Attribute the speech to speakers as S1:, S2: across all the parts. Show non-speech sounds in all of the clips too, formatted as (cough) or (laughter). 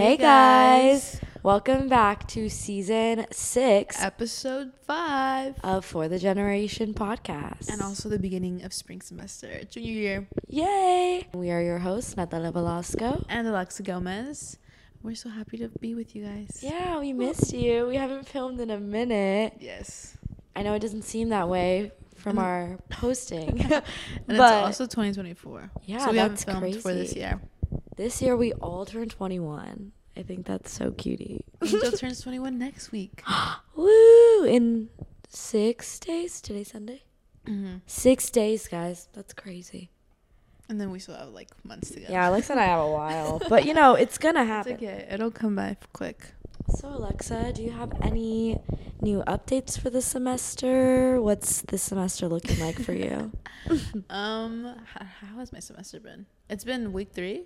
S1: guys. Welcome back to season six
S2: Episode five.
S1: of For the Generation podcast.
S2: And also the beginning of spring semester, junior year.
S1: yay! We are your hosts, Natalia Velasco.
S2: And Alexa Gomez. We're so happy to be with you guys.
S1: Yeah, we missed you. We haven't filmed in a minute. (laughs)
S2: Yes.
S1: I know it doesn't seem that way from our posting,
S2: Mm. (laughs) and it's
S1: (laughs) but
S2: also 2024.
S1: Yeah,
S2: So we
S1: that's
S2: haven't filmed for this
S1: crazy. (laughs)
S2: year.
S1: this year we all turned 21. I think that's so cutie. (laughs)
S2: Angel turns 21 next week.
S1: Woo! In six days? Today's Sunday?
S2: Mhm.
S1: Six days, guys. That's crazy.
S2: And then we still have like months to go.
S1: Yeah, Alexa and I have a (laughs) while, but you know, it's gonna
S2: (laughs) It's
S1: happen.
S2: okay. It'll come by quick.
S1: So, Alexa, do you have any new updates for the semester? What's the semester looking like for you?
S2: Um, how, how has my semester been? It's been week three.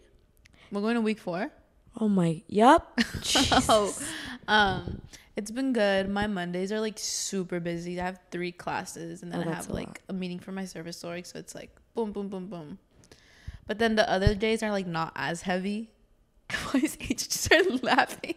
S2: We're going to week four.
S1: (laughs) oh my, (laughs) yup.
S2: Oh,
S1: Jesus.
S2: um, it's been good. My Mondays are like super busy. I have three classes, and then
S1: Oh,
S2: I
S1: that's
S2: have
S1: a
S2: like
S1: lot.
S2: a meeting for my service org. So it's like boom, boom, boom, boom. But then the other days are like not as heavy. (laughs) Why is H just started laughing?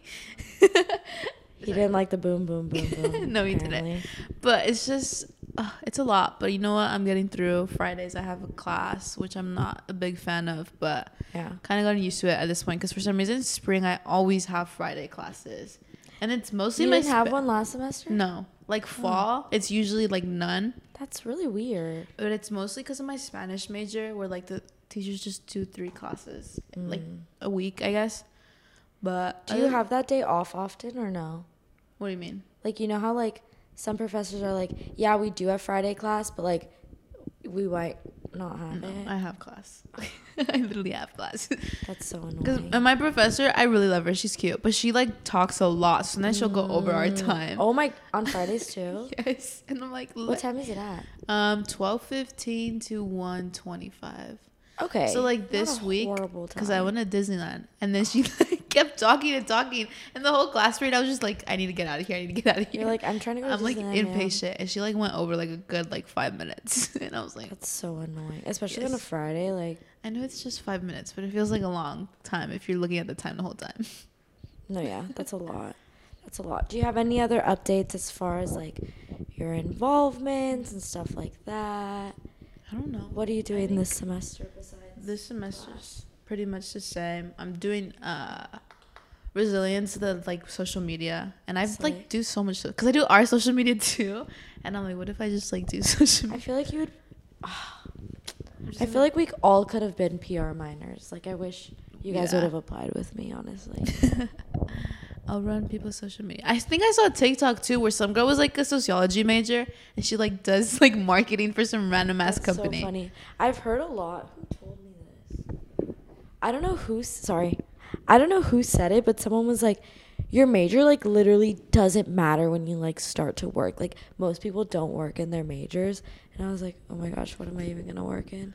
S1: He didn't like the boom, boom, boom, (laughs) boom.
S2: No, he didn't. But it's just, uh, it's a lot. But you know what? I'm getting through. Fridays I have a class, which I'm not a big fan of, but
S1: Yeah.
S2: kind of gotten used to it at this point. Because for some reason, spring I always have Friday classes, and it's mostly
S1: You
S2: my
S1: didn't have
S2: spe-
S1: one last semester?
S2: No, like fall, it's usually like none,
S1: That's really weird.
S2: but it's mostly because of my Spanish major, where like the teachers just do three classes like a week, I guess.
S1: Mm.
S2: But
S1: Do you
S2: other-
S1: have that day off often or no?
S2: What do you mean?
S1: Like, you know how, like, some professors are like, yeah, we do have Friday class, but, like, we might not have
S2: No,
S1: it.
S2: I have class. (laughs) I literally have class. (laughs)
S1: That's so
S2: Because
S1: annoying.
S2: my professor, I really love her. She's cute, but she like talks a lot, so then she'll go over our time.
S1: Oh my, on Fridays too?
S2: (laughs) yes, and I'm like,
S1: Oh. What time is it at?
S2: um, twelve fifteen to one twenty five.
S1: Okay.
S2: So like
S1: not
S2: this
S1: a
S2: week,
S1: horrible
S2: because I
S1: time.
S2: went to Disneyland, and then she (laughs) like kept talking and talking, and the whole class period, I was just like, I need to get out of here. I need to get out of here.
S1: You're like, I'm trying to go. to
S2: I'm like
S1: Disneyland, ma'am."
S2: impatient, and she like went over like a good like five minutes, (laughs) and I was like,
S1: That's so annoying, especially on a
S2: Yes.
S1: Friday. Like,
S2: I know it's just five minutes, but it feels like a long time if you're looking at the time the whole time. (laughs)
S1: no, yeah, that's a lot. That's a lot. Do you have any other updates as far as like your involvements and stuff like that?
S2: I don't know.
S1: What are you
S2: I
S1: doing
S2: think
S1: this semester besides?
S2: This semester's pretty much the same. I'm doing uh resilience the like social media and I've
S1: Silly.
S2: like do so much because I do our social media (laughs) too and I'm like what if I just like do (laughs) social
S1: I
S2: media
S1: feel like you would. I feel like we all could have been PR minors. Like, I wish you guys
S2: Yeah.
S1: would have applied with me. Honestly,
S2: (laughs) I'll run people's social media. I think I saw a TikTok too where some girl was like a sociology major and she like does like marketing for some random ass
S1: That's
S2: company.
S1: So funny. I've heard a lot. Who told me this? I don't know who. Sorry, I don't know who said it, but someone was like, "Your major like literally doesn't matter when you like start to work. Like most people don't work in their majors." And I was like, "Oh my gosh, what am I even gonna work in?"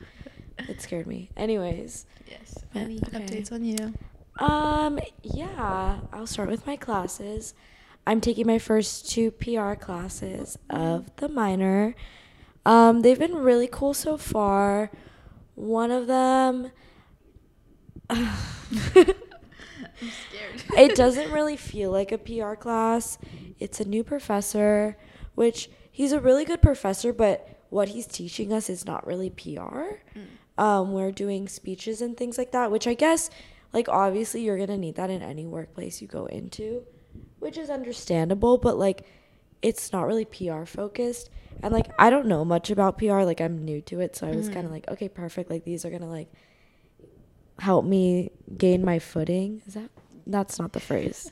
S1: It (laughs) scared me. Anyways,
S2: Yes.
S1: Yeah,
S2: Any
S1: okay.
S2: updates on you?
S1: (laughs) um, yeah, I'll start with my classes. I'm taking my first two PR classes of the minor. Um, they've been really cool so far. One of them, (sighs)
S2: I'm scared.
S1: it doesn't really feel like a PR class. It's a new professor, which he's a really good professor, but what he's teaching us is not really PR.
S2: Mm,
S1: Um, we're doing speeches and things like that, which I guess, like, obviously, you're going to need that in any workplace you go into, which is understandable, but like, it's not really PR focused. And like, I don't know much about PR. Like, I'm new to it. So I was kind of like, okay, perfect. Like, these are going to like help me gain my footing. Is that that's not the phrase.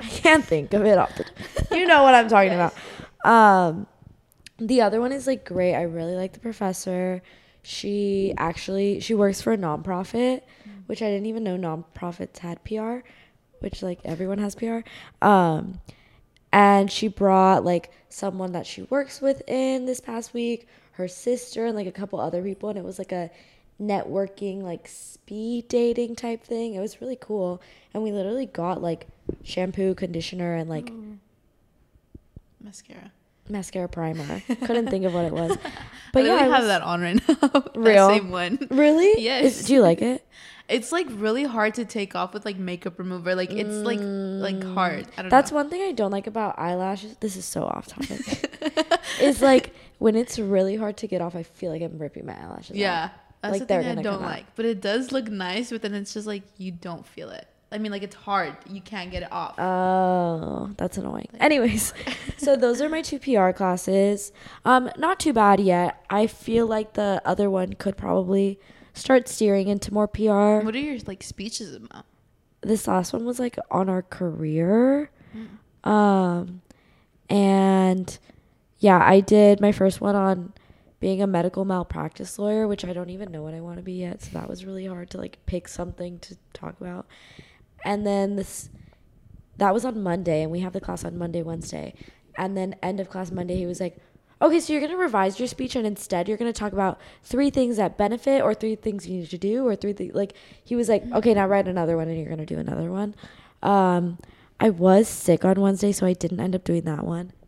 S1: I can't think of it off the You know what I'm talking about. Um the other one is like great. I really like the professor. She actually she works for a nonprofit, which I didn't even know nonprofits had PR, which like everyone has PR. Um and she brought like someone that she works with in this past week, her sister and like a couple other people and it was like a networking like speed dating type thing. It was really cool and we literally got like shampoo, conditioner and like
S2: Mascara.
S1: mascara primer. Couldn't think of what it was.
S2: But
S1: But
S2: I
S1: yeah,
S2: yeah,
S1: I
S2: have
S1: was-
S2: that on right (laughs) now. that
S1: Real?
S2: same one.
S1: Really?
S2: Yes.
S1: Is- do you like it?
S2: It's like really hard to take off with like makeup remover. Like it's like like hard. (laughs) I don't
S1: That's
S2: know.
S1: one thing I don't like about eyelashes. This is so off topic.
S2: (laughs)
S1: is like when it's really hard to get off, I feel like I'm ripping my eyelashes. out.
S2: yeah. That's
S1: Like,
S2: the
S1: they're
S2: thing I
S1: gonna come
S2: don't
S1: out.
S2: like. But it does look nice, but then it's just like you don't feel it. I mean like it's hard. You can't get it off.
S1: Uh, Oh, that's annoying.
S2: (laughs)
S1: Anyways, so those are my two PR classes. Um, not too bad yet. I feel like the other one could probably start steering into more PR.
S2: what are your like speeches about?
S1: This last one was like on our career. Um, and yeah, I did my first one on being a medical malpractice lawyer, which I don't even know what I want to be yet. So that was really hard to like pick something to talk about. And then this that was on Monday, and we have the class on Monday, Wednesday. And then end of class Monday, he was like, "Okay, so you're gonna revise your speech, and instead you're gonna talk about three things that benefit, or three things you need to do, or three things." Like he was like, "Okay, now write another one, and you're gonna do another one." Um, I was sick on Wednesday, so I didn't end up doing that one. (laughs)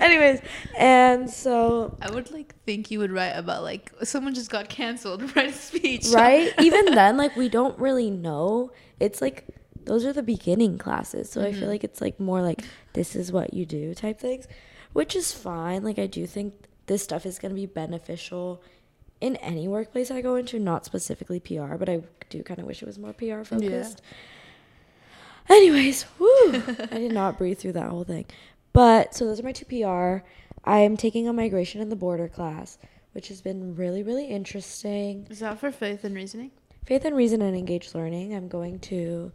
S1: Anyways, and so
S2: I would like think you would write about like someone just got canceled, (laughs) write a speech.
S1: right
S2: (laughs)
S1: even then like we don't really know it's like those are the beginning classes so i feel like it's like more like this is what you do type things which is fine like i do think this stuff is going to be beneficial in any workplace i go into not specifically pr but i do kind of wish it was more pr focused anyways whoo i did not breathe through that whole thing but so those are my two pr i'm taking a migration and the border class which has been really really interesting
S2: Is that for faith and reasoning?
S1: Faith and Reason and Engaged Learning. I'm going to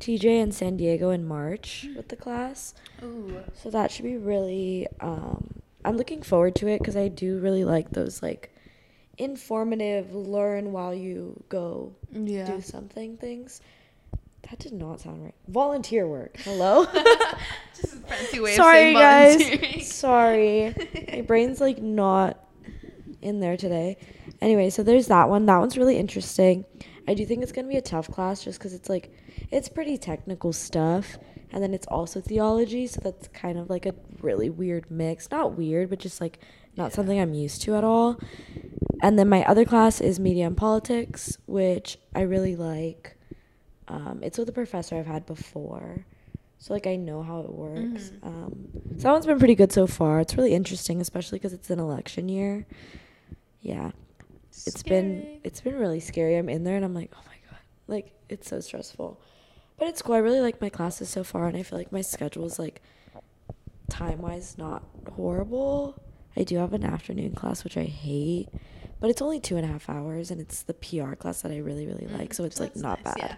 S1: TJ and San Diego in March with the class.
S2: Ooh.
S1: So that should be really um I'm looking forward to it cuz I do really like those like informative learn while you go
S2: Yeah.
S1: do something things. That did not sound right. Volunteer work. Hello?
S2: (laughs)
S1: (laughs)
S2: Just a fancy way
S1: Sorry
S2: of saying (laughs)
S1: guys. Sorry. My brain's like not in there today. Anyway, so there's that one. That one's really interesting. I do think it's going to be a tough class just because it's like, it's pretty technical stuff. And then it's also theology. So that's kind of like a really weird mix. Not weird, but just like not something I'm used to at all. And then my other class is media and politics, which I really like. Um, it's with a professor I've had before. So like I know how it works. Um, so that one's been pretty good so far. It's really interesting, especially because it's an election year. Yeah, it's been it's been really scary. I'm in there and I'm like, oh my god, like it's so stressful. But it's cool. I really like my classes so far, and I feel like my schedule is like time wise not horrible. I do have an afternoon class which I hate, but it's only two and a half hours, and it's the PR class that I really really
S2: Mm-hmm. Mm,
S1: like, so it's like not bad.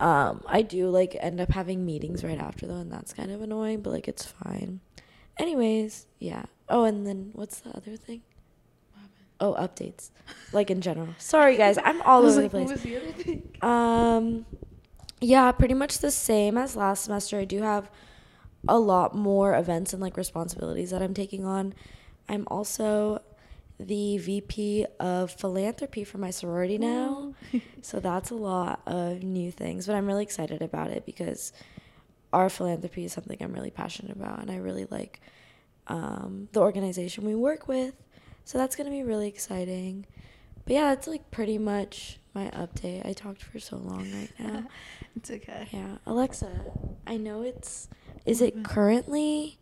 S1: Um, I do like end up having meetings right after though, and that's kind of annoying, but like it's fine. Anyways, yeah. Oh, and then what's the other thing? Oh, updates, like in general. Sorry guys,
S2: (laughs)
S1: I'm all over the place.
S2: the other thing?
S1: Um, yeah, pretty much the same as last semester. I do have a lot more events and like responsibilities that I'm taking on. I'm also the VP of philanthropy for my sorority
S2: Oh.
S1: now.
S2: (laughs)
S1: so that's a lot of new things, but I'm really excited about it because our philanthropy is something I'm really passionate about and I really like um, the organization we work with. So that's going to be really exciting. But yeah, that's like pretty much my update. I talked for so long right
S2: (laughs)
S1: now.
S2: It's okay.
S1: Yeah, Alexa, I know it's. Is it currently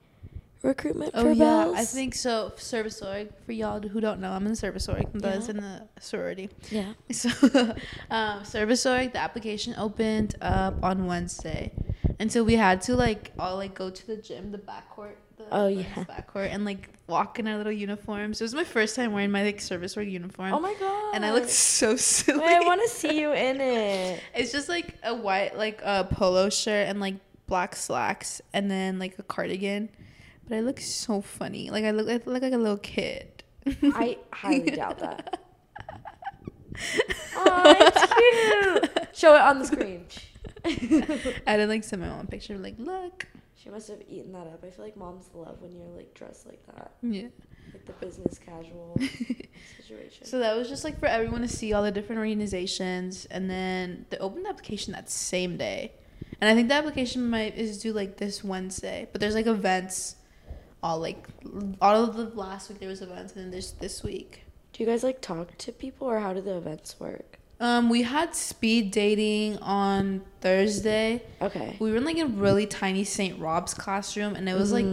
S1: recruitment
S2: Mm-hmm.
S1: for
S2: Oh yeah,
S1: bells?
S2: I think so. Service org for y'all who don't know, I'm in service org. That's
S1: Yeah.
S2: in the sorority.
S1: Yeah.
S2: So, (laughs) um, service org, the application opened up on Wednesday, and so we had to like all like go to the gym, the backcourt. The
S1: Oh,
S2: women's
S1: yeah.
S2: backcourt, and like walk in our little uniforms. It was my first time wearing my like service org uniform.
S1: Oh my god.
S2: And I looked so (laughs) silly.
S1: Wait, I want to see you in
S2: (laughs)
S1: it.
S2: It's just like a white like a polo shirt and like black slacks and then like a cardigan. But I look so funny. Like I look I look like a little kid.
S1: I
S2: (laughs)
S1: highly doubt that. Oh, it's cute. Show it on the screen.
S2: I did like send my mom a picture like look.
S1: (laughs) She must have eaten that up. I feel like moms love when you're like dressed like that,
S2: Yeah. (laughs)
S1: like the business (laughs) casual situation.
S2: So that was just like for everyone to see all the different organizations and then they opened the application that same day. And I think the application might is due like this Wednesday. But there's like events all like all of the last week there was events and then there's this week.
S1: Do you guys like talk to people or how do the events work?
S2: Um, we had speed dating on Thursday.
S1: Okay.
S2: We were in like a really tiny St. Rob's classroom, and it was like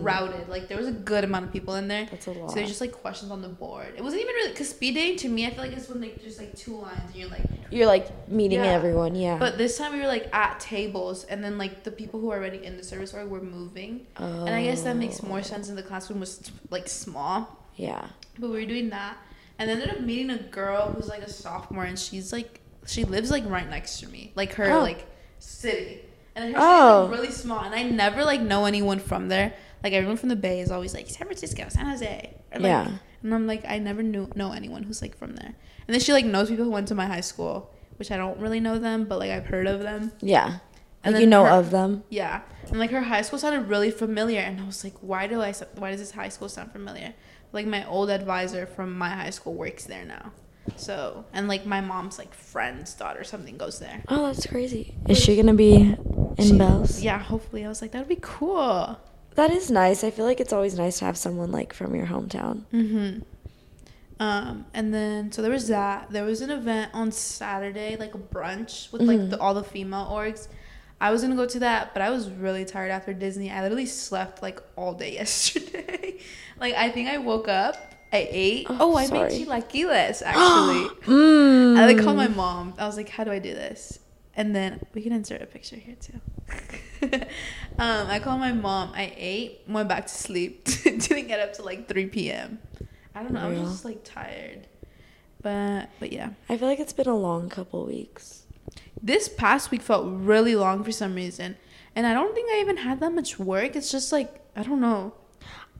S2: crowded. Like there was a good amount of people in there.
S1: That's a
S2: So
S1: lot.
S2: there's just like questions on the board. It wasn't even really because speed dating to me, I feel like it's when like there's like two lines and you're like.
S1: You're like meeting
S2: Yeah.
S1: everyone, yeah.
S2: But this time we were like at tables, and then like the people who are already in the service or were moving,
S1: oh,
S2: and I guess that makes more sense. in the classroom was like small,
S1: Yeah.
S2: but we were doing that, and I ended up meeting a girl who's like a sophomore, and she's like she lives like right next to me, like her
S1: Oh.
S2: like city, and her
S1: Oh.
S2: city's like, really small, and I never like know anyone from there. Like everyone from the Bay is always like San Francisco, San Jose, or, like,
S1: Yeah.
S2: And I'm like I never knew know anyone who's like from there, and then she like knows people who went to my high school, which I don't really know them, but like I've heard of them.
S1: Yeah.
S2: And
S1: Like you
S2: then
S1: know
S2: her-
S1: of them.
S2: Yeah, and like her high school sounded really familiar, and I was like, why do I? s- Why does this high school sound familiar? Like my old advisor from my high school works there now, so and like my mom's like friend's daughter something goes there.
S1: Oh, that's crazy. Is she gonna be in
S2: She-
S1: Bells?
S2: Yeah, hopefully I was like that'd be cool.
S1: That is nice. I feel like it's always nice to have someone like from your hometown. (gasps)
S2: Mm-hmm. Um, and then so there was that. There was an event on Saturday, like a brunch with like
S1: Mhm.
S2: the, all the female orgs. I was gonna go to that, but I was really tired after Disney. I literally slept like all day (laughs) yesterday. like I think I woke up. I ate.
S1: Oh,
S2: Oh, I
S1: sorry.
S2: made chilaquiles
S1: (gasps)
S2: actually. (gasps)
S1: Mm.
S2: I like called my mom. I was like, "How do I do this?" And then we can insert a picture here too. (laughs) um, I called my mom. I ate, went back to sleep, (laughs) didn't get up till like three p.m. I don't know. I
S1: Real.
S2: was just like tired, but but yeah.
S1: I feel like it's been a long couple weeks.
S2: This past week felt really long for some reason, and I don't think I even had that much work. It's just like I don't know.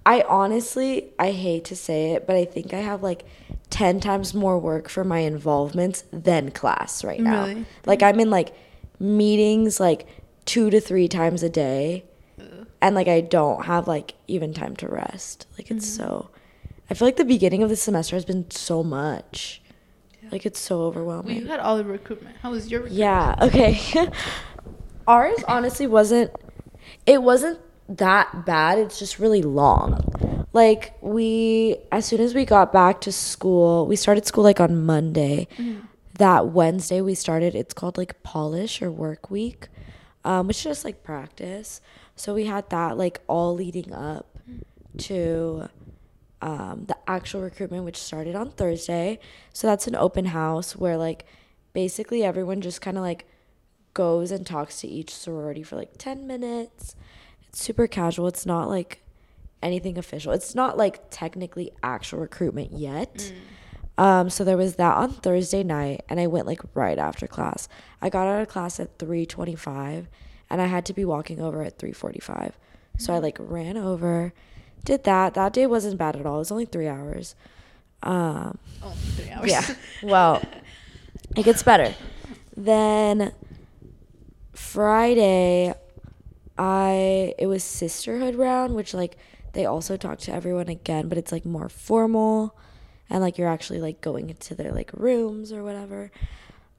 S1: I honestly, I hate to say it, but I think I have like 10 times more work for my involvements than class right now.
S2: Really?
S1: Like I'm in like meetings like 2 to 3 times a day
S2: Ugh.
S1: and like I don't have like even time to rest. Like it's so I feel like the beginning of the semester has been so much. Like it's so
S2: Well,
S1: overwhelming.
S2: you had all the recruitment. How was your recruitment?
S1: Yeah. Okay. (laughs) Ours honestly wasn't. It wasn't that bad. It's just really long. Like we, as soon as we got back to school, we started school like on Monday. That Wednesday we started. It's called like polish or work week, um, which is just like practice. So we had that like all leading up to um, the actual recruitment, which started on Thursday. So that's an open house where like basically everyone just kind of like goes and talks to each sorority for like 10 minutes. It's super casual. It's not like anything official. It's not like technically actual recruitment yet.
S2: Mm.
S1: Um, so there was that on Thursday night, and I went like right after class. I got out of class at three twenty-five, and I had to be walking over at three forty-five. So I like ran over, did that. That day wasn't bad at all. It was only three hours. Um,
S2: Oh, three hours.
S1: yeah.
S2: (laughs)
S1: Well, it gets better. Then Friday, I it was sisterhood round, which like they also talk to everyone again, but it's like more formal, and like you're actually like going into their like rooms or whatever.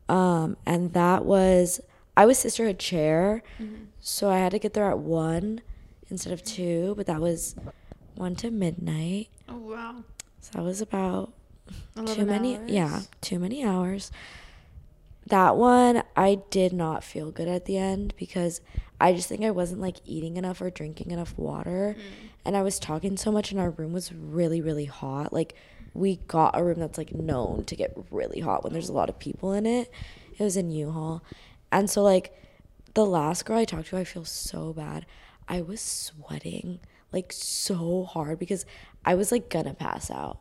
S1: Um, and that was I was sisterhood chair, so I had to get there at one instead of two, but that was one to midnight.
S2: Oh wow.
S1: So that was about
S2: 11
S1: too many
S2: hours.
S1: yeah too many hours that one i did not feel good at the end because i just think i wasn't like eating enough or drinking enough water and i was talking so much and our room was really really hot like we got a room that's like known to get really hot when there's a lot of people in it it was in u-haul and so like the last girl i talked to i feel so bad i was sweating like so hard because i was like gonna pass out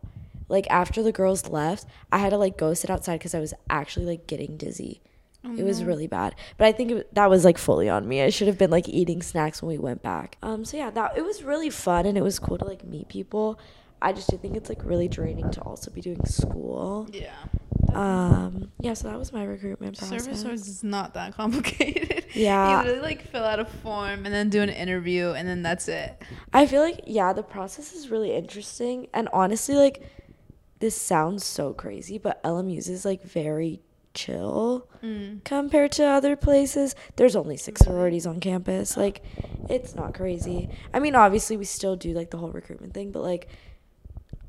S1: like after the girls left, I had to like go sit outside because I was actually like getting dizzy. it was really bad, but I think it, that was like fully on me. I should have been like eating snacks when we went back. Um, so yeah, that it was really fun and it was cool to like meet people. I just do think it's like really draining to also be doing school.
S2: Yeah.
S1: Um, yeah, so that was my recruitment process.
S2: Service hours is not that (laughs) complicated.
S1: Yeah.
S2: you really like fill out a form and then do an interview and then that's it.
S1: I feel like yeah, the process is really interesting and honestly like this sounds so crazy, but LMU's is like very chill
S2: Mm.
S1: compared to other places. There's only six sororities on campus. Like, it's not crazy. I mean, obviously, we still do like the whole recruitment thing, but like,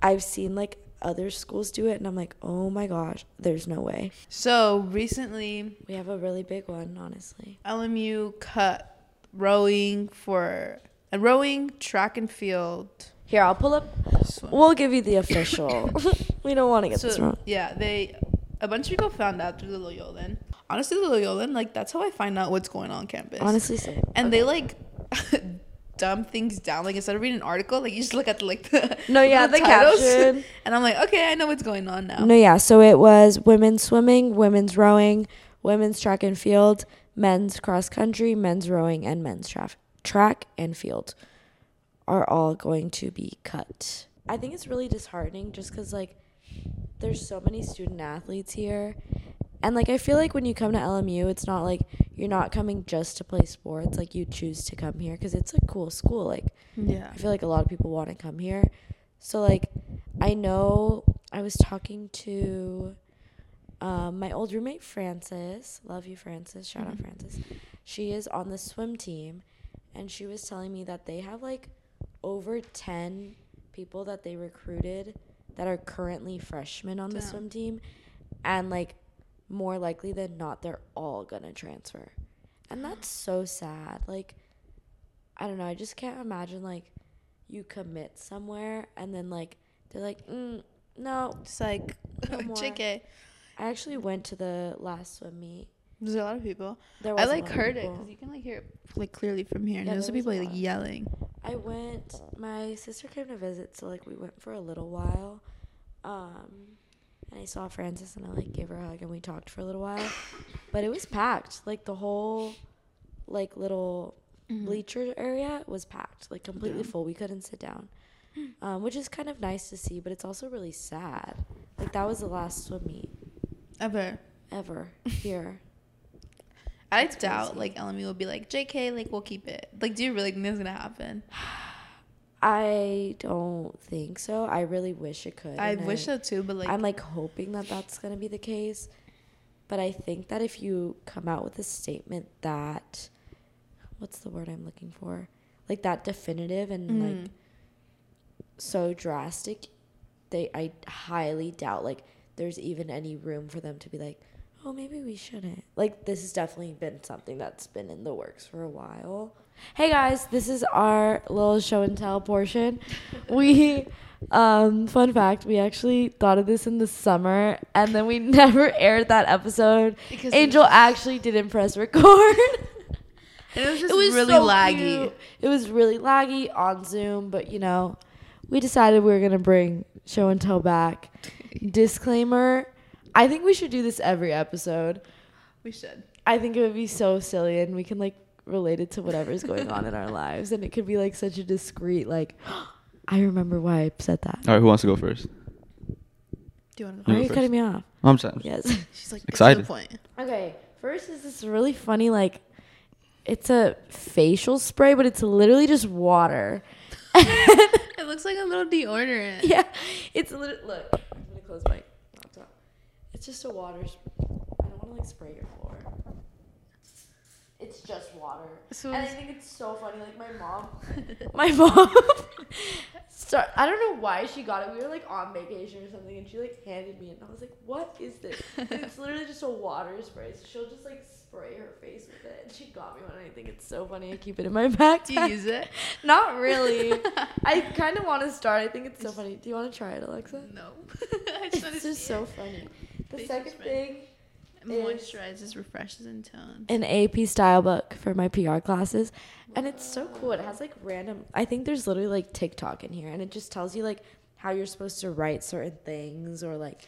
S1: I've seen like other schools do it, and I'm like, oh my gosh, there's no way.
S2: So recently,
S1: We have a really big one, honestly.
S2: LMU cut rowing for uh, rowing, track and field.
S1: Here, I'll pull up.
S2: swim.
S1: We'll give you the official. (laughs) we don't want to get this
S2: So
S1: wrong.
S2: yeah, they a bunch of people found out through the Loyolan. Honestly, the Loyolan, like that's how I find out what's going on on campus.
S1: Honestly, same.
S2: and they like (laughs) dumb things down. Like instead of reading an article, like you just look at the, like the
S1: No, yeah, the
S2: titles.
S1: caption.
S2: (laughs) and I'm like, okay, I know what's going on now.
S1: No, yeah. So it was women's swimming, women's rowing, women's track and field, men's cross country, men's rowing, and men's traf- track and field are all going to be cut. I think it's really disheartening just because, like, there's so many student athletes here. And, like, I feel like when you come to LMU, it's not like you're not coming just to play sports. Like, you choose to come here because it's a cool school. Like,
S2: Yeah.
S1: I feel like a lot of people want to come here. So like I know I was talking to um, my old roommate Frances. Love you, Frances. Shout out Frances. She is on the swim team and she was telling me that they have like over ten people that they recruited that are currently freshmen on the
S2: Damn.
S1: swim team and like more likely than not they're all gonna transfer. And
S2: (sighs)
S1: that's so sad. Like I don't know. I just can't imagine like you commit somewhere and then like they're like, mm, no.
S2: Just (laughs) like
S1: No more.
S2: JK.
S1: I actually went to the last swim meet.
S2: There's a lot of people.
S1: There
S2: I
S1: a
S2: like
S1: lot of
S2: heard it
S1: people.
S2: because you can like hear it like clearly from here. And
S1: Yeah,
S2: there's
S1: there
S2: some people
S1: was a
S2: like
S1: lot.
S2: yelling.
S1: I went. My sister came to visit, so like we went for a little while, um, and I saw Frances and I like gave her a hug and we talked for a little
S2: (coughs)
S1: while, but it was packed. Like the whole, like little
S2: Mm-hmm.
S1: bleacher area was packed, like completely full. We couldn't sit down,
S2: Hmm.
S1: um, which is kind of nice to see, but it's also really sad. Like that was the last swim meet
S2: Ever. (laughs)
S1: ever here.
S2: I doubt
S1: crazy.
S2: like LMU will be like JK. Like we'll keep it. Like do you really think that's gonna happen?
S1: I don't think so. I really wish it could.
S2: I
S1: and
S2: wish so too, but like
S1: I'm like hoping that that's gonna be the case, but I think that if you come out with a statement that, what's the word I'm looking for, like that definitive and like so drastic, they I highly doubt like there's even any room for them to be like, oh maybe we shouldn't. Like this has definitely been something that's been in the works for a while. Hey guys, this is our little show and tell portion. We um fun fact, we actually thought of this in the summer and then we (laughs) never aired that episode.
S2: Because it
S1: Angel actually didn't press
S2: (laughs)
S1: record.
S2: and it was just
S1: it was
S2: really
S1: so
S2: laggy.
S1: cute. It was really laggy on Zoom, but you know, we decided we were gonna bring show and tell
S2: (laughs)
S1: back. Disclaimer: I think we should do this every episode.
S2: We should.
S1: I think it would be so silly, and we can like relate it to whatever's going on
S2: (laughs)
S1: in our lives, and it could be like such a discreet like. (gasps) I remember why I said that.
S3: All right, who wants to go first?
S2: Do you want to
S1: Why are
S2: go?
S3: go
S1: you
S3: first.
S1: cutting me off?
S3: I'm sorry.
S1: Yes. (laughs)
S2: She's like
S3: Excited.
S2: excited. point.
S1: Okay, first is this really funny like it's a facial spray, but it's literally just water.
S2: It looks like a little deodorant.
S1: (laughs) yeah, (laughs) it's a little look. I'm gonna close my laptop. It's just a water. Sp- I don't want to like spray your floor. It's just water.
S2: So
S1: and I
S2: it's-
S1: think it's so funny. Like my mom, (laughs) my mom. (laughs) Start, I don't know why she got it. We were like on vacation or something, and she like handed me it, and I was like, "What is this?" And
S2: (laughs)
S1: it's literally just a water spray. So she'll just like spray her face with it. And she got me one. And I think it's so funny. I keep it in my (laughs) backpack.
S2: Do you use it?
S1: Not really. I kind of want to start. I think it's so funny. Do you want to try it, Alexa?
S2: (laughs) No. (laughs) I just wanna
S1: It's just
S2: see
S1: so
S2: it.
S1: funny. The
S2: Facial
S1: second
S2: spray.
S1: thing,
S2: It moisturizes, refreshes, and tones.
S1: an AP style book for my PR classes, and it's so cool. It has like random. I think there's literally like TikTok in here, and it just tells you like how you're supposed to write certain things or like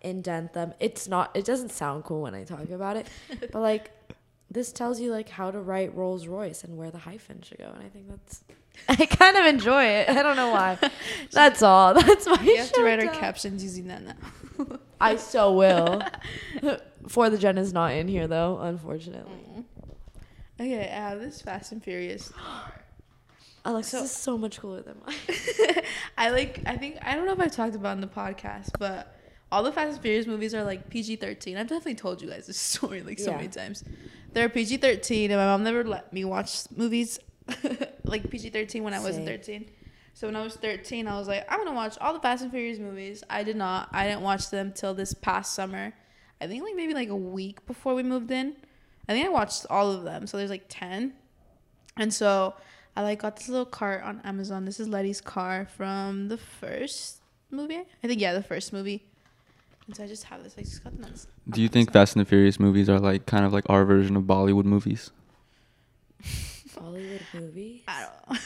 S1: indent them. It's not. It doesn't sound cool when I talk about (laughs) it, but like this tells you like how to write Rolls Royce and where the hyphen should go, and I think that's. (laughs) I kind of enjoy it. I don't know why. (laughs) That's all. That's my.
S2: You have to write our
S1: shout-out.
S2: captions using that now.
S1: I so (laughs) will. For the Gen is not in here though, unfortunately.
S2: (laughs) Okay, I have this Fast and Furious.
S1: Alexa
S2: So-
S1: is so (laughs) much cooler than mine.
S2: (laughs) I like. I think I don't know if I talked about it on the podcast, but all the Fast and Furious movies are like PG thirteen. I've definitely told you guys this (laughs) story like so
S1: Yeah.
S2: many times. They're PG thirteen, and my mom never let me watch movies (laughs) like PG thirteen when I
S1: Same.
S2: wasn't thirteen. So when I was thirteen, I was like, I'm gonna watch all the Fast and Furious movies. I did not. I didn't watch them till this past summer. I think like maybe like a week before we moved in. I think I watched all of them. So there's like ten. And so I like got this little cart on Amazon. This is Letty's car from the first movie. I think yeah, the first movie. And so I just have this. I just got them on this.
S3: Do you think
S2: Amazon.
S3: Fast and the Furious movies are like kind of like our version of Bollywood movies?
S1: Bollywood movie.
S2: I don't.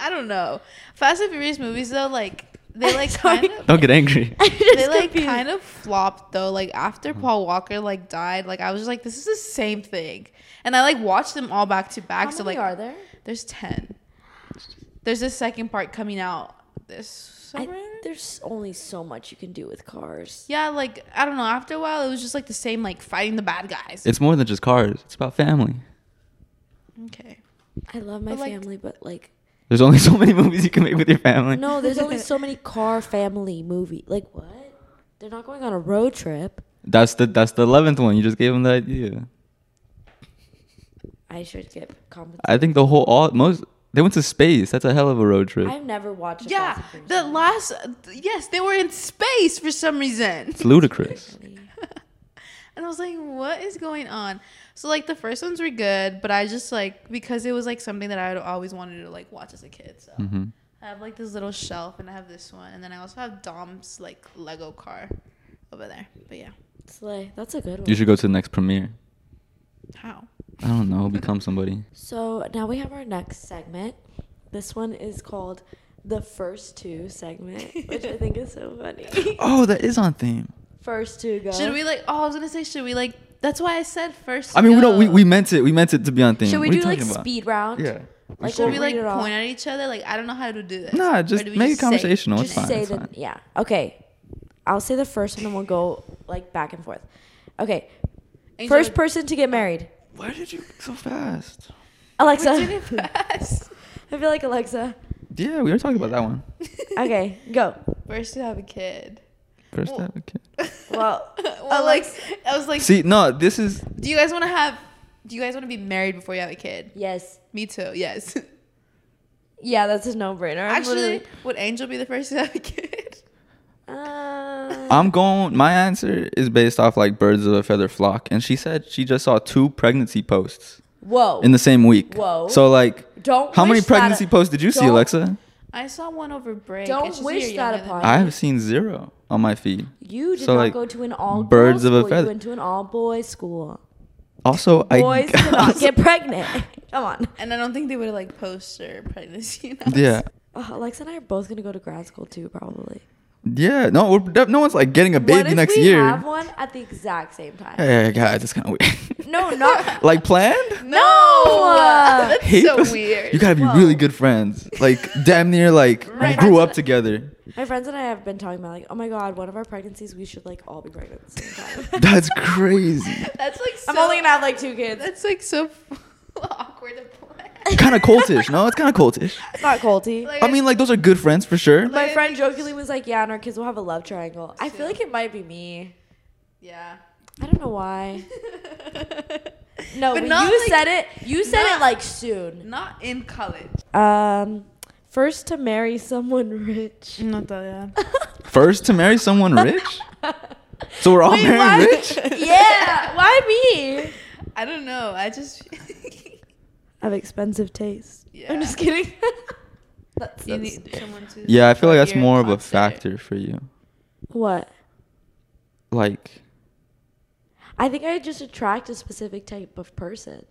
S2: I don't know. (laughs) Fast and Furious movies though, like
S1: (laughs)
S2: they like kind of
S3: Don't get angry.
S2: they like kind of flopped though. Like after
S3: Mm-hmm.
S2: Paul Walker like died, like I was just like, this is the same thing. And I like watched them all back to back.
S1: How
S2: so
S1: many
S2: like,
S1: are there?
S2: there's ten. There's a second part coming out this
S1: I-
S2: summer.
S1: there's only so much you can do with cars.
S2: yeah, like I don't know. After a while, it was just like the same, like fighting the bad guys.
S3: (laughs) It's more than just cars. It's about family.
S2: okay.
S1: I love my
S2: But, like-
S1: family, but
S3: (laughs)
S1: like
S3: There's only so many movies you can make with your family.
S1: no, there's only so many car family movie. Like what? They're not going on a road trip.
S3: That's the that's the eleventh one. You just gave him the idea.
S1: I should get compensated.
S3: I think the whole all most they went to space. That's a hell of a road trip.
S1: I've never watched. A
S2: Yeah,
S1: Fast and
S2: the last. Yes, they were in space for some reason. (laughs)
S1: (laughs)
S3: It's ludicrous.
S1: Furious movie.
S2: And I was like, what is going on? So like the first ones were good, but I just like because it was like something that I had always wanted to like watch as a kid. So
S3: hmm
S2: I have like this little shelf and I have this one and then I also have Dom's like Lego car over there. But yeah.
S1: Slay. That's a good one.
S3: You should go to the next premiere.
S2: How?
S3: I don't know. Become somebody.
S1: So now we have our next segment. This one is called the first two segment, which I think is so funny. (laughs)
S3: Oh, that is on theme.
S1: First two go.
S2: Should we like oh I was gonna say should we like that's why I said first.
S3: I mean, we don't. We,
S2: go.
S3: we meant it. We meant it to be on theme.
S1: Should we
S3: What
S1: do
S3: are you
S1: like
S3: talking about?
S1: speed round?
S3: Yeah.
S1: Like
S2: should
S1: we'll
S2: we
S1: read
S2: like
S1: it off.
S2: point at each other? Like I don't know how to do this.
S3: Nah,
S2: Or
S3: just
S2: do we
S3: make it
S2: say-
S3: conversational. it's
S1: Just
S3: fine.
S1: say
S3: it's
S1: the
S3: fine.
S1: yeah. Okay, I'll say the first one and we'll go like back and forth. Okay,
S2: Angel,
S1: first person to get married,
S3: Where did you so fast?
S2: we
S1: Alexa.
S2: did it fast.
S1: (laughs) I feel like
S2: (laughs)
S1: Alexa.
S3: Yeah, we were talking about that one.
S1: Okay, go.
S2: First to have a kid.
S3: First
S2: Well-
S3: time. Okay.
S1: (laughs) Well,
S2: well, like (laughs) I was like
S3: See, no, this is
S2: Do you guys want to have? Do you guys want to be married before you have a kid?
S1: yes.
S2: Me too.
S1: (laughs)
S2: Yes.
S1: Yeah, that's a no-brainer. I'm
S2: Actually,
S1: literally-
S2: would Angel be the first to have a kid?
S1: Uh,
S3: I'm going. My answer is based off like birds of a feather flock, and she said she just saw two pregnancy posts
S1: whoa.
S3: in the same week.
S1: Whoa.
S3: So like,
S1: don't.
S3: how many
S1: wish that-
S3: pregnancy posts did you see,
S1: don't-
S3: Alexa?
S2: I saw one over break.
S1: Don't
S2: It's just
S1: wish
S2: you're
S1: that
S2: younger than
S1: upon-
S3: I have seen zero on my feed.
S1: You did
S3: So,
S1: not
S3: like,
S1: go to an all birds
S3: birds of
S1: of
S3: a
S1: school.
S3: feather.
S1: You went to an all boys
S3: (laughs)
S1: school.
S3: Also,
S1: Boys
S3: (laughs) I
S1: cannot get pregnant. (laughs) Come on.
S2: me. And I don't think they would like post their pregnancy. (laughs)
S3: yeah,
S1: Uh, Alexa and I are both gonna go to grad school too, probably.
S3: yeah. No, we're, def- no one's like getting a
S1: what
S3: baby
S1: if
S3: next
S1: we
S3: year.
S1: have one at the exact same time?
S3: Hey guys, it's kind of weird. (laughs)
S1: No, not.
S3: like planned.
S2: No,
S1: No!
S2: that's
S3: Hate
S2: so
S3: those-
S2: weird.
S3: You gotta be
S1: Whoa.
S3: really good friends. Like damn near like we
S2: Right.
S3: grew up together.
S1: my friends and I have been talking about like, oh my god, one of our pregnancies, we should like all be pregnant at the same time.
S3: (laughs) That's crazy.
S2: that's like. So,
S1: I'm only gonna have like two kids.
S2: (laughs) That's like so awkward to plan.
S3: kind of cultish. No, it's kind of cultish.
S1: It's not culty.
S2: Like,
S3: I mean, like those are good friends for sure.
S1: my
S2: like-
S1: friend jokingly was like, yeah, and our kids will have a love triangle. I feel like it might be me.
S2: yeah.
S1: I don't know why. (laughs) No,
S2: But
S1: but,
S2: not,
S1: you
S2: like-
S1: said it. You said
S2: not-
S1: it like soon.
S2: Not in college.
S1: Um, first to marry someone (laughs)
S2: (laughs)
S1: rich.
S2: Not that.
S3: First to marry someone rich. So we're all
S2: Wait,
S3: marrying
S2: what?
S3: rich.
S1: (laughs) yeah, why me?
S2: I don't know. I just. (laughs)
S1: I have expensive taste.
S2: Yeah.
S1: I'm just (laughs) kidding. That's,
S2: you
S1: that's-
S2: need someone to.
S3: Yeah, I feel like that's
S2: Your
S3: more of a
S2: consider.
S3: factor for you.
S1: what?
S3: Like,
S1: I think I just attract a specific type of person.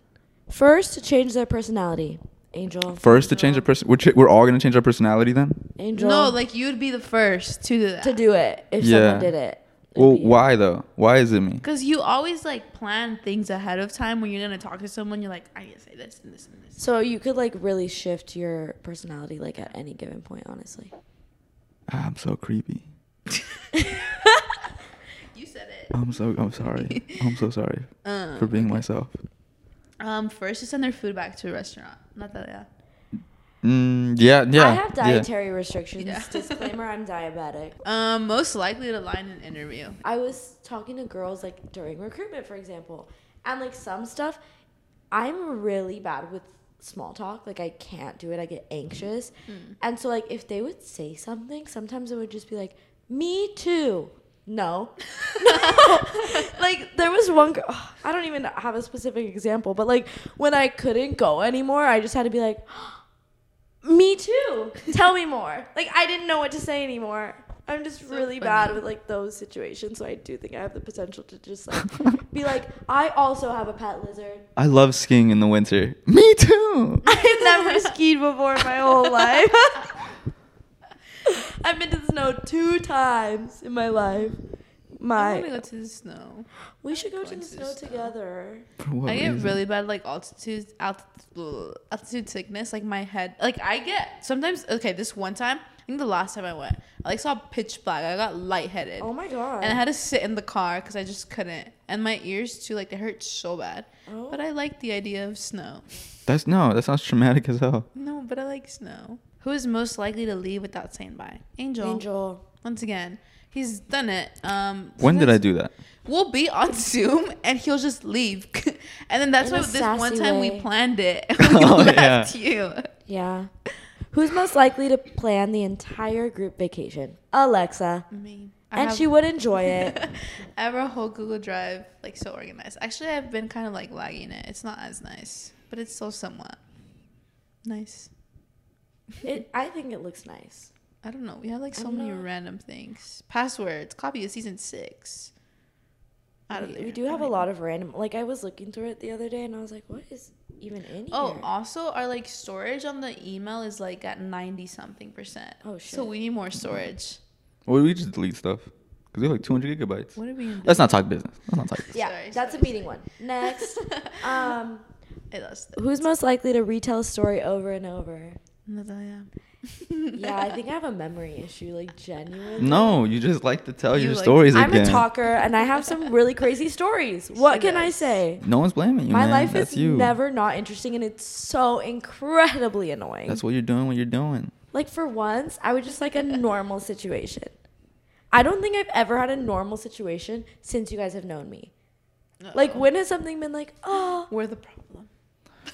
S1: First, to change their personality. Angel.
S3: first to change a person. We're, ch- we're all gonna change our personality then.
S1: Angel.
S2: No, like you'd be the first to do that.
S1: to do it if
S3: Yeah.
S1: someone did it. it'd
S3: Well,
S1: be-
S3: why though? Why is it me?
S2: Cause you always like plan things ahead of time when you're gonna talk to someone. You're like, I need to say this and this and this.
S1: So you could like really shift your personality like at any given point, honestly.
S3: Ah, I'm so creepy.
S2: You said it.
S3: I'm so I'm sorry. I'm so sorry for
S2: Um,
S3: being myself.
S2: um, first to send their food back to a restaurant. Not that, yeah.
S3: Mm, yeah, yeah.
S1: I have
S3: yeah.
S1: dietary restrictions.
S2: Yeah.
S1: Disclaimer, I'm diabetic.
S2: Um, most likely to lie in an interview.
S1: I was talking to girls like during recruitment, for example, and like some stuff, I'm really bad with small talk. Like I can't do it. I get anxious, and so like if they would say something, sometimes it would just be like, "Me too." No, (laughs) like there was one. Girl, I don't even have a specific example, but like when I couldn't go anymore, I just had to be like, "Me too. Tell me more." Like I didn't know what to say anymore. I'm just really bad
S2: funny.
S1: with like those situations, so I do think I have the potential to just like be like, "I also have a pet lizard."
S3: I love skiing in the winter. Me too.
S1: (laughs) I've never skied before in my whole (laughs)
S2: (laughs)
S1: life. I've been to the snow two times in my life.
S2: I want to
S1: My,
S2: go to the snow.
S1: we should go to
S2: Going
S1: the
S2: to the
S1: snow
S2: snow.
S1: together.
S3: For what
S2: I get
S3: reason?
S2: really bad like altitude altitude altitude sickness. Like my head, like I get sometimes. Okay, this one time, I think the last time I went, I like saw pitch black. I got lightheaded,
S1: Oh my god!
S2: and I had to sit in the car because I just couldn't. And my ears too, like they hurt so bad.
S1: Oh.
S2: But I like the idea of snow.
S3: That's no. That sounds traumatic as hell.
S2: No, but I like snow. Who is most likely to leave without saying bye? Angel.
S1: Angel.
S2: Once again, he's done it. Um,
S3: When did
S2: sometimes-
S3: I do that?
S2: we'll be on (laughs) Zoom and he'll just leave. (laughs) and then that's
S1: In a
S2: why this one
S1: sassy
S2: time we
S1: way.
S2: planned it (laughs) and we
S3: Oh,
S2: left you.
S1: Yeah. Who's most likely to plan the entire group vacation? Alexa.
S2: Me. I
S1: And
S2: have-
S1: she (laughs) would enjoy it.
S2: (laughs) I have a whole Google Drive like so organized. Actually, I've been kind of like lagging it. It's not as nice, but it's still somewhat nice.
S1: it. I think it looks nice.
S2: I don't know. We have like so
S1: I'm
S2: many
S1: not-
S2: random things. Passwords. Copy of season six. Out of
S1: We-
S2: there.
S1: We do have a lot of random. Like I was looking through it the other day, and I was like, "What is even in
S2: Oh,
S1: here?"
S2: also our like storage on the email is like at ninety something percent.
S1: Oh,
S2: So
S1: shit.
S2: we need more storage.
S3: Or did we just delete stuff? Because we have like 200 gigabytes.
S2: What are we? Doing?
S3: Let's not talk business. Let's not talk business.
S1: yeah,
S2: sorry,
S1: that's
S2: sorry,
S1: a meeting one.
S2: (laughs)
S1: Next, um,
S2: It does.
S1: who's most likely to retell a story over and over?
S2: Natalia.
S1: Yeah, I think I
S2: (laughs)
S1: have a memory issue, like genuinely.
S3: No, you just like to tell
S2: You
S3: your
S2: like-
S3: stories
S1: I'm
S3: again.
S1: a talker, and I have some really crazy stories.
S2: (laughs)
S1: What
S2: She
S1: can I
S2: does.
S1: say?
S3: No one's blaming you.
S1: My
S3: man.
S1: life
S3: That's
S1: is
S3: you.
S1: never not interesting, and it's so incredibly annoying.
S3: That's what you're doing. What you're doing.
S1: like for once, I would just like a normal situation. I don't think I've ever had a normal situation since you guys have known me. Like, when has something been like, oh,
S2: we're the problem.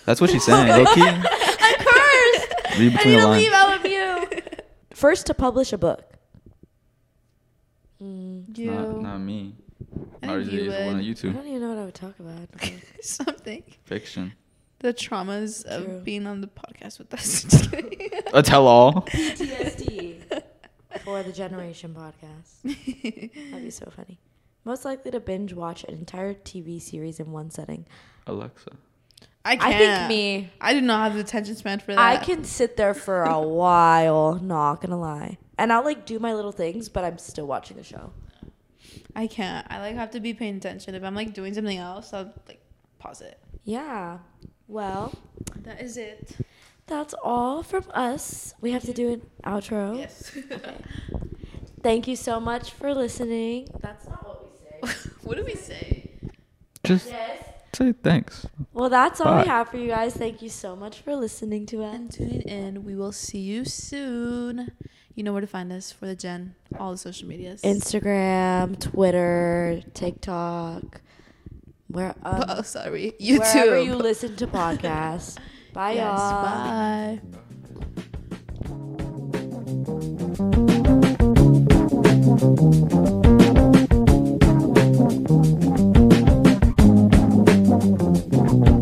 S3: That's what she's
S1: (laughs)
S3: saying. Low key.
S1: I'm cursed. I
S3: Read between
S1: need
S3: the
S1: to
S3: lines.
S1: leave out of
S2: (laughs)
S1: you. (laughs) First to publish a book. Mm,
S2: You.
S3: Not, not me.
S2: I
S3: Or is
S2: think you
S3: it the one that
S2: would.
S3: you
S1: I
S3: two.
S1: don't even know what I would talk about.
S2: (laughs) Something.
S3: Fiction.
S2: The traumas
S1: True.
S2: of being on the podcast with us. (laughs) Just kidding.
S1: (laughs)
S3: A tell-all.
S1: PTSD for the Generation podcast. That'd be so funny. Most likely to binge watch an entire TV series in one setting.
S3: Alexa.
S2: I
S1: I think
S2: can't.
S1: me.
S2: I do not have the attention span for
S1: I
S2: that.
S1: can sit there for a while, not gonna lie. And I'll like do my little things, but I'm still watching the show.
S2: I can't. I like have to be paying attention. If I'm like doing something else, I'll like pause it.
S1: Yeah. Well,
S2: That is it.
S1: that's all from us. We have to do an outro. (laughs)
S2: Yes. (laughs)
S1: Thank you so much for listening. That's not what we (laughs)
S2: what do we say?
S3: Just
S1: Yes.
S3: say thanks.
S1: Well, that's all we
S3: Bye.
S1: have for you guys. Thank you so much for listening to us.
S2: And tuning in. We will see you soon. You know where to find us for the Gen. All the social medias.
S1: Instagram, Twitter, TikTok, where um,
S2: (laughs) oh, sorry. YouTube.
S1: wherever you listen to (laughs) podcasts. Bye,
S2: Yes,
S1: y'all.
S2: bye.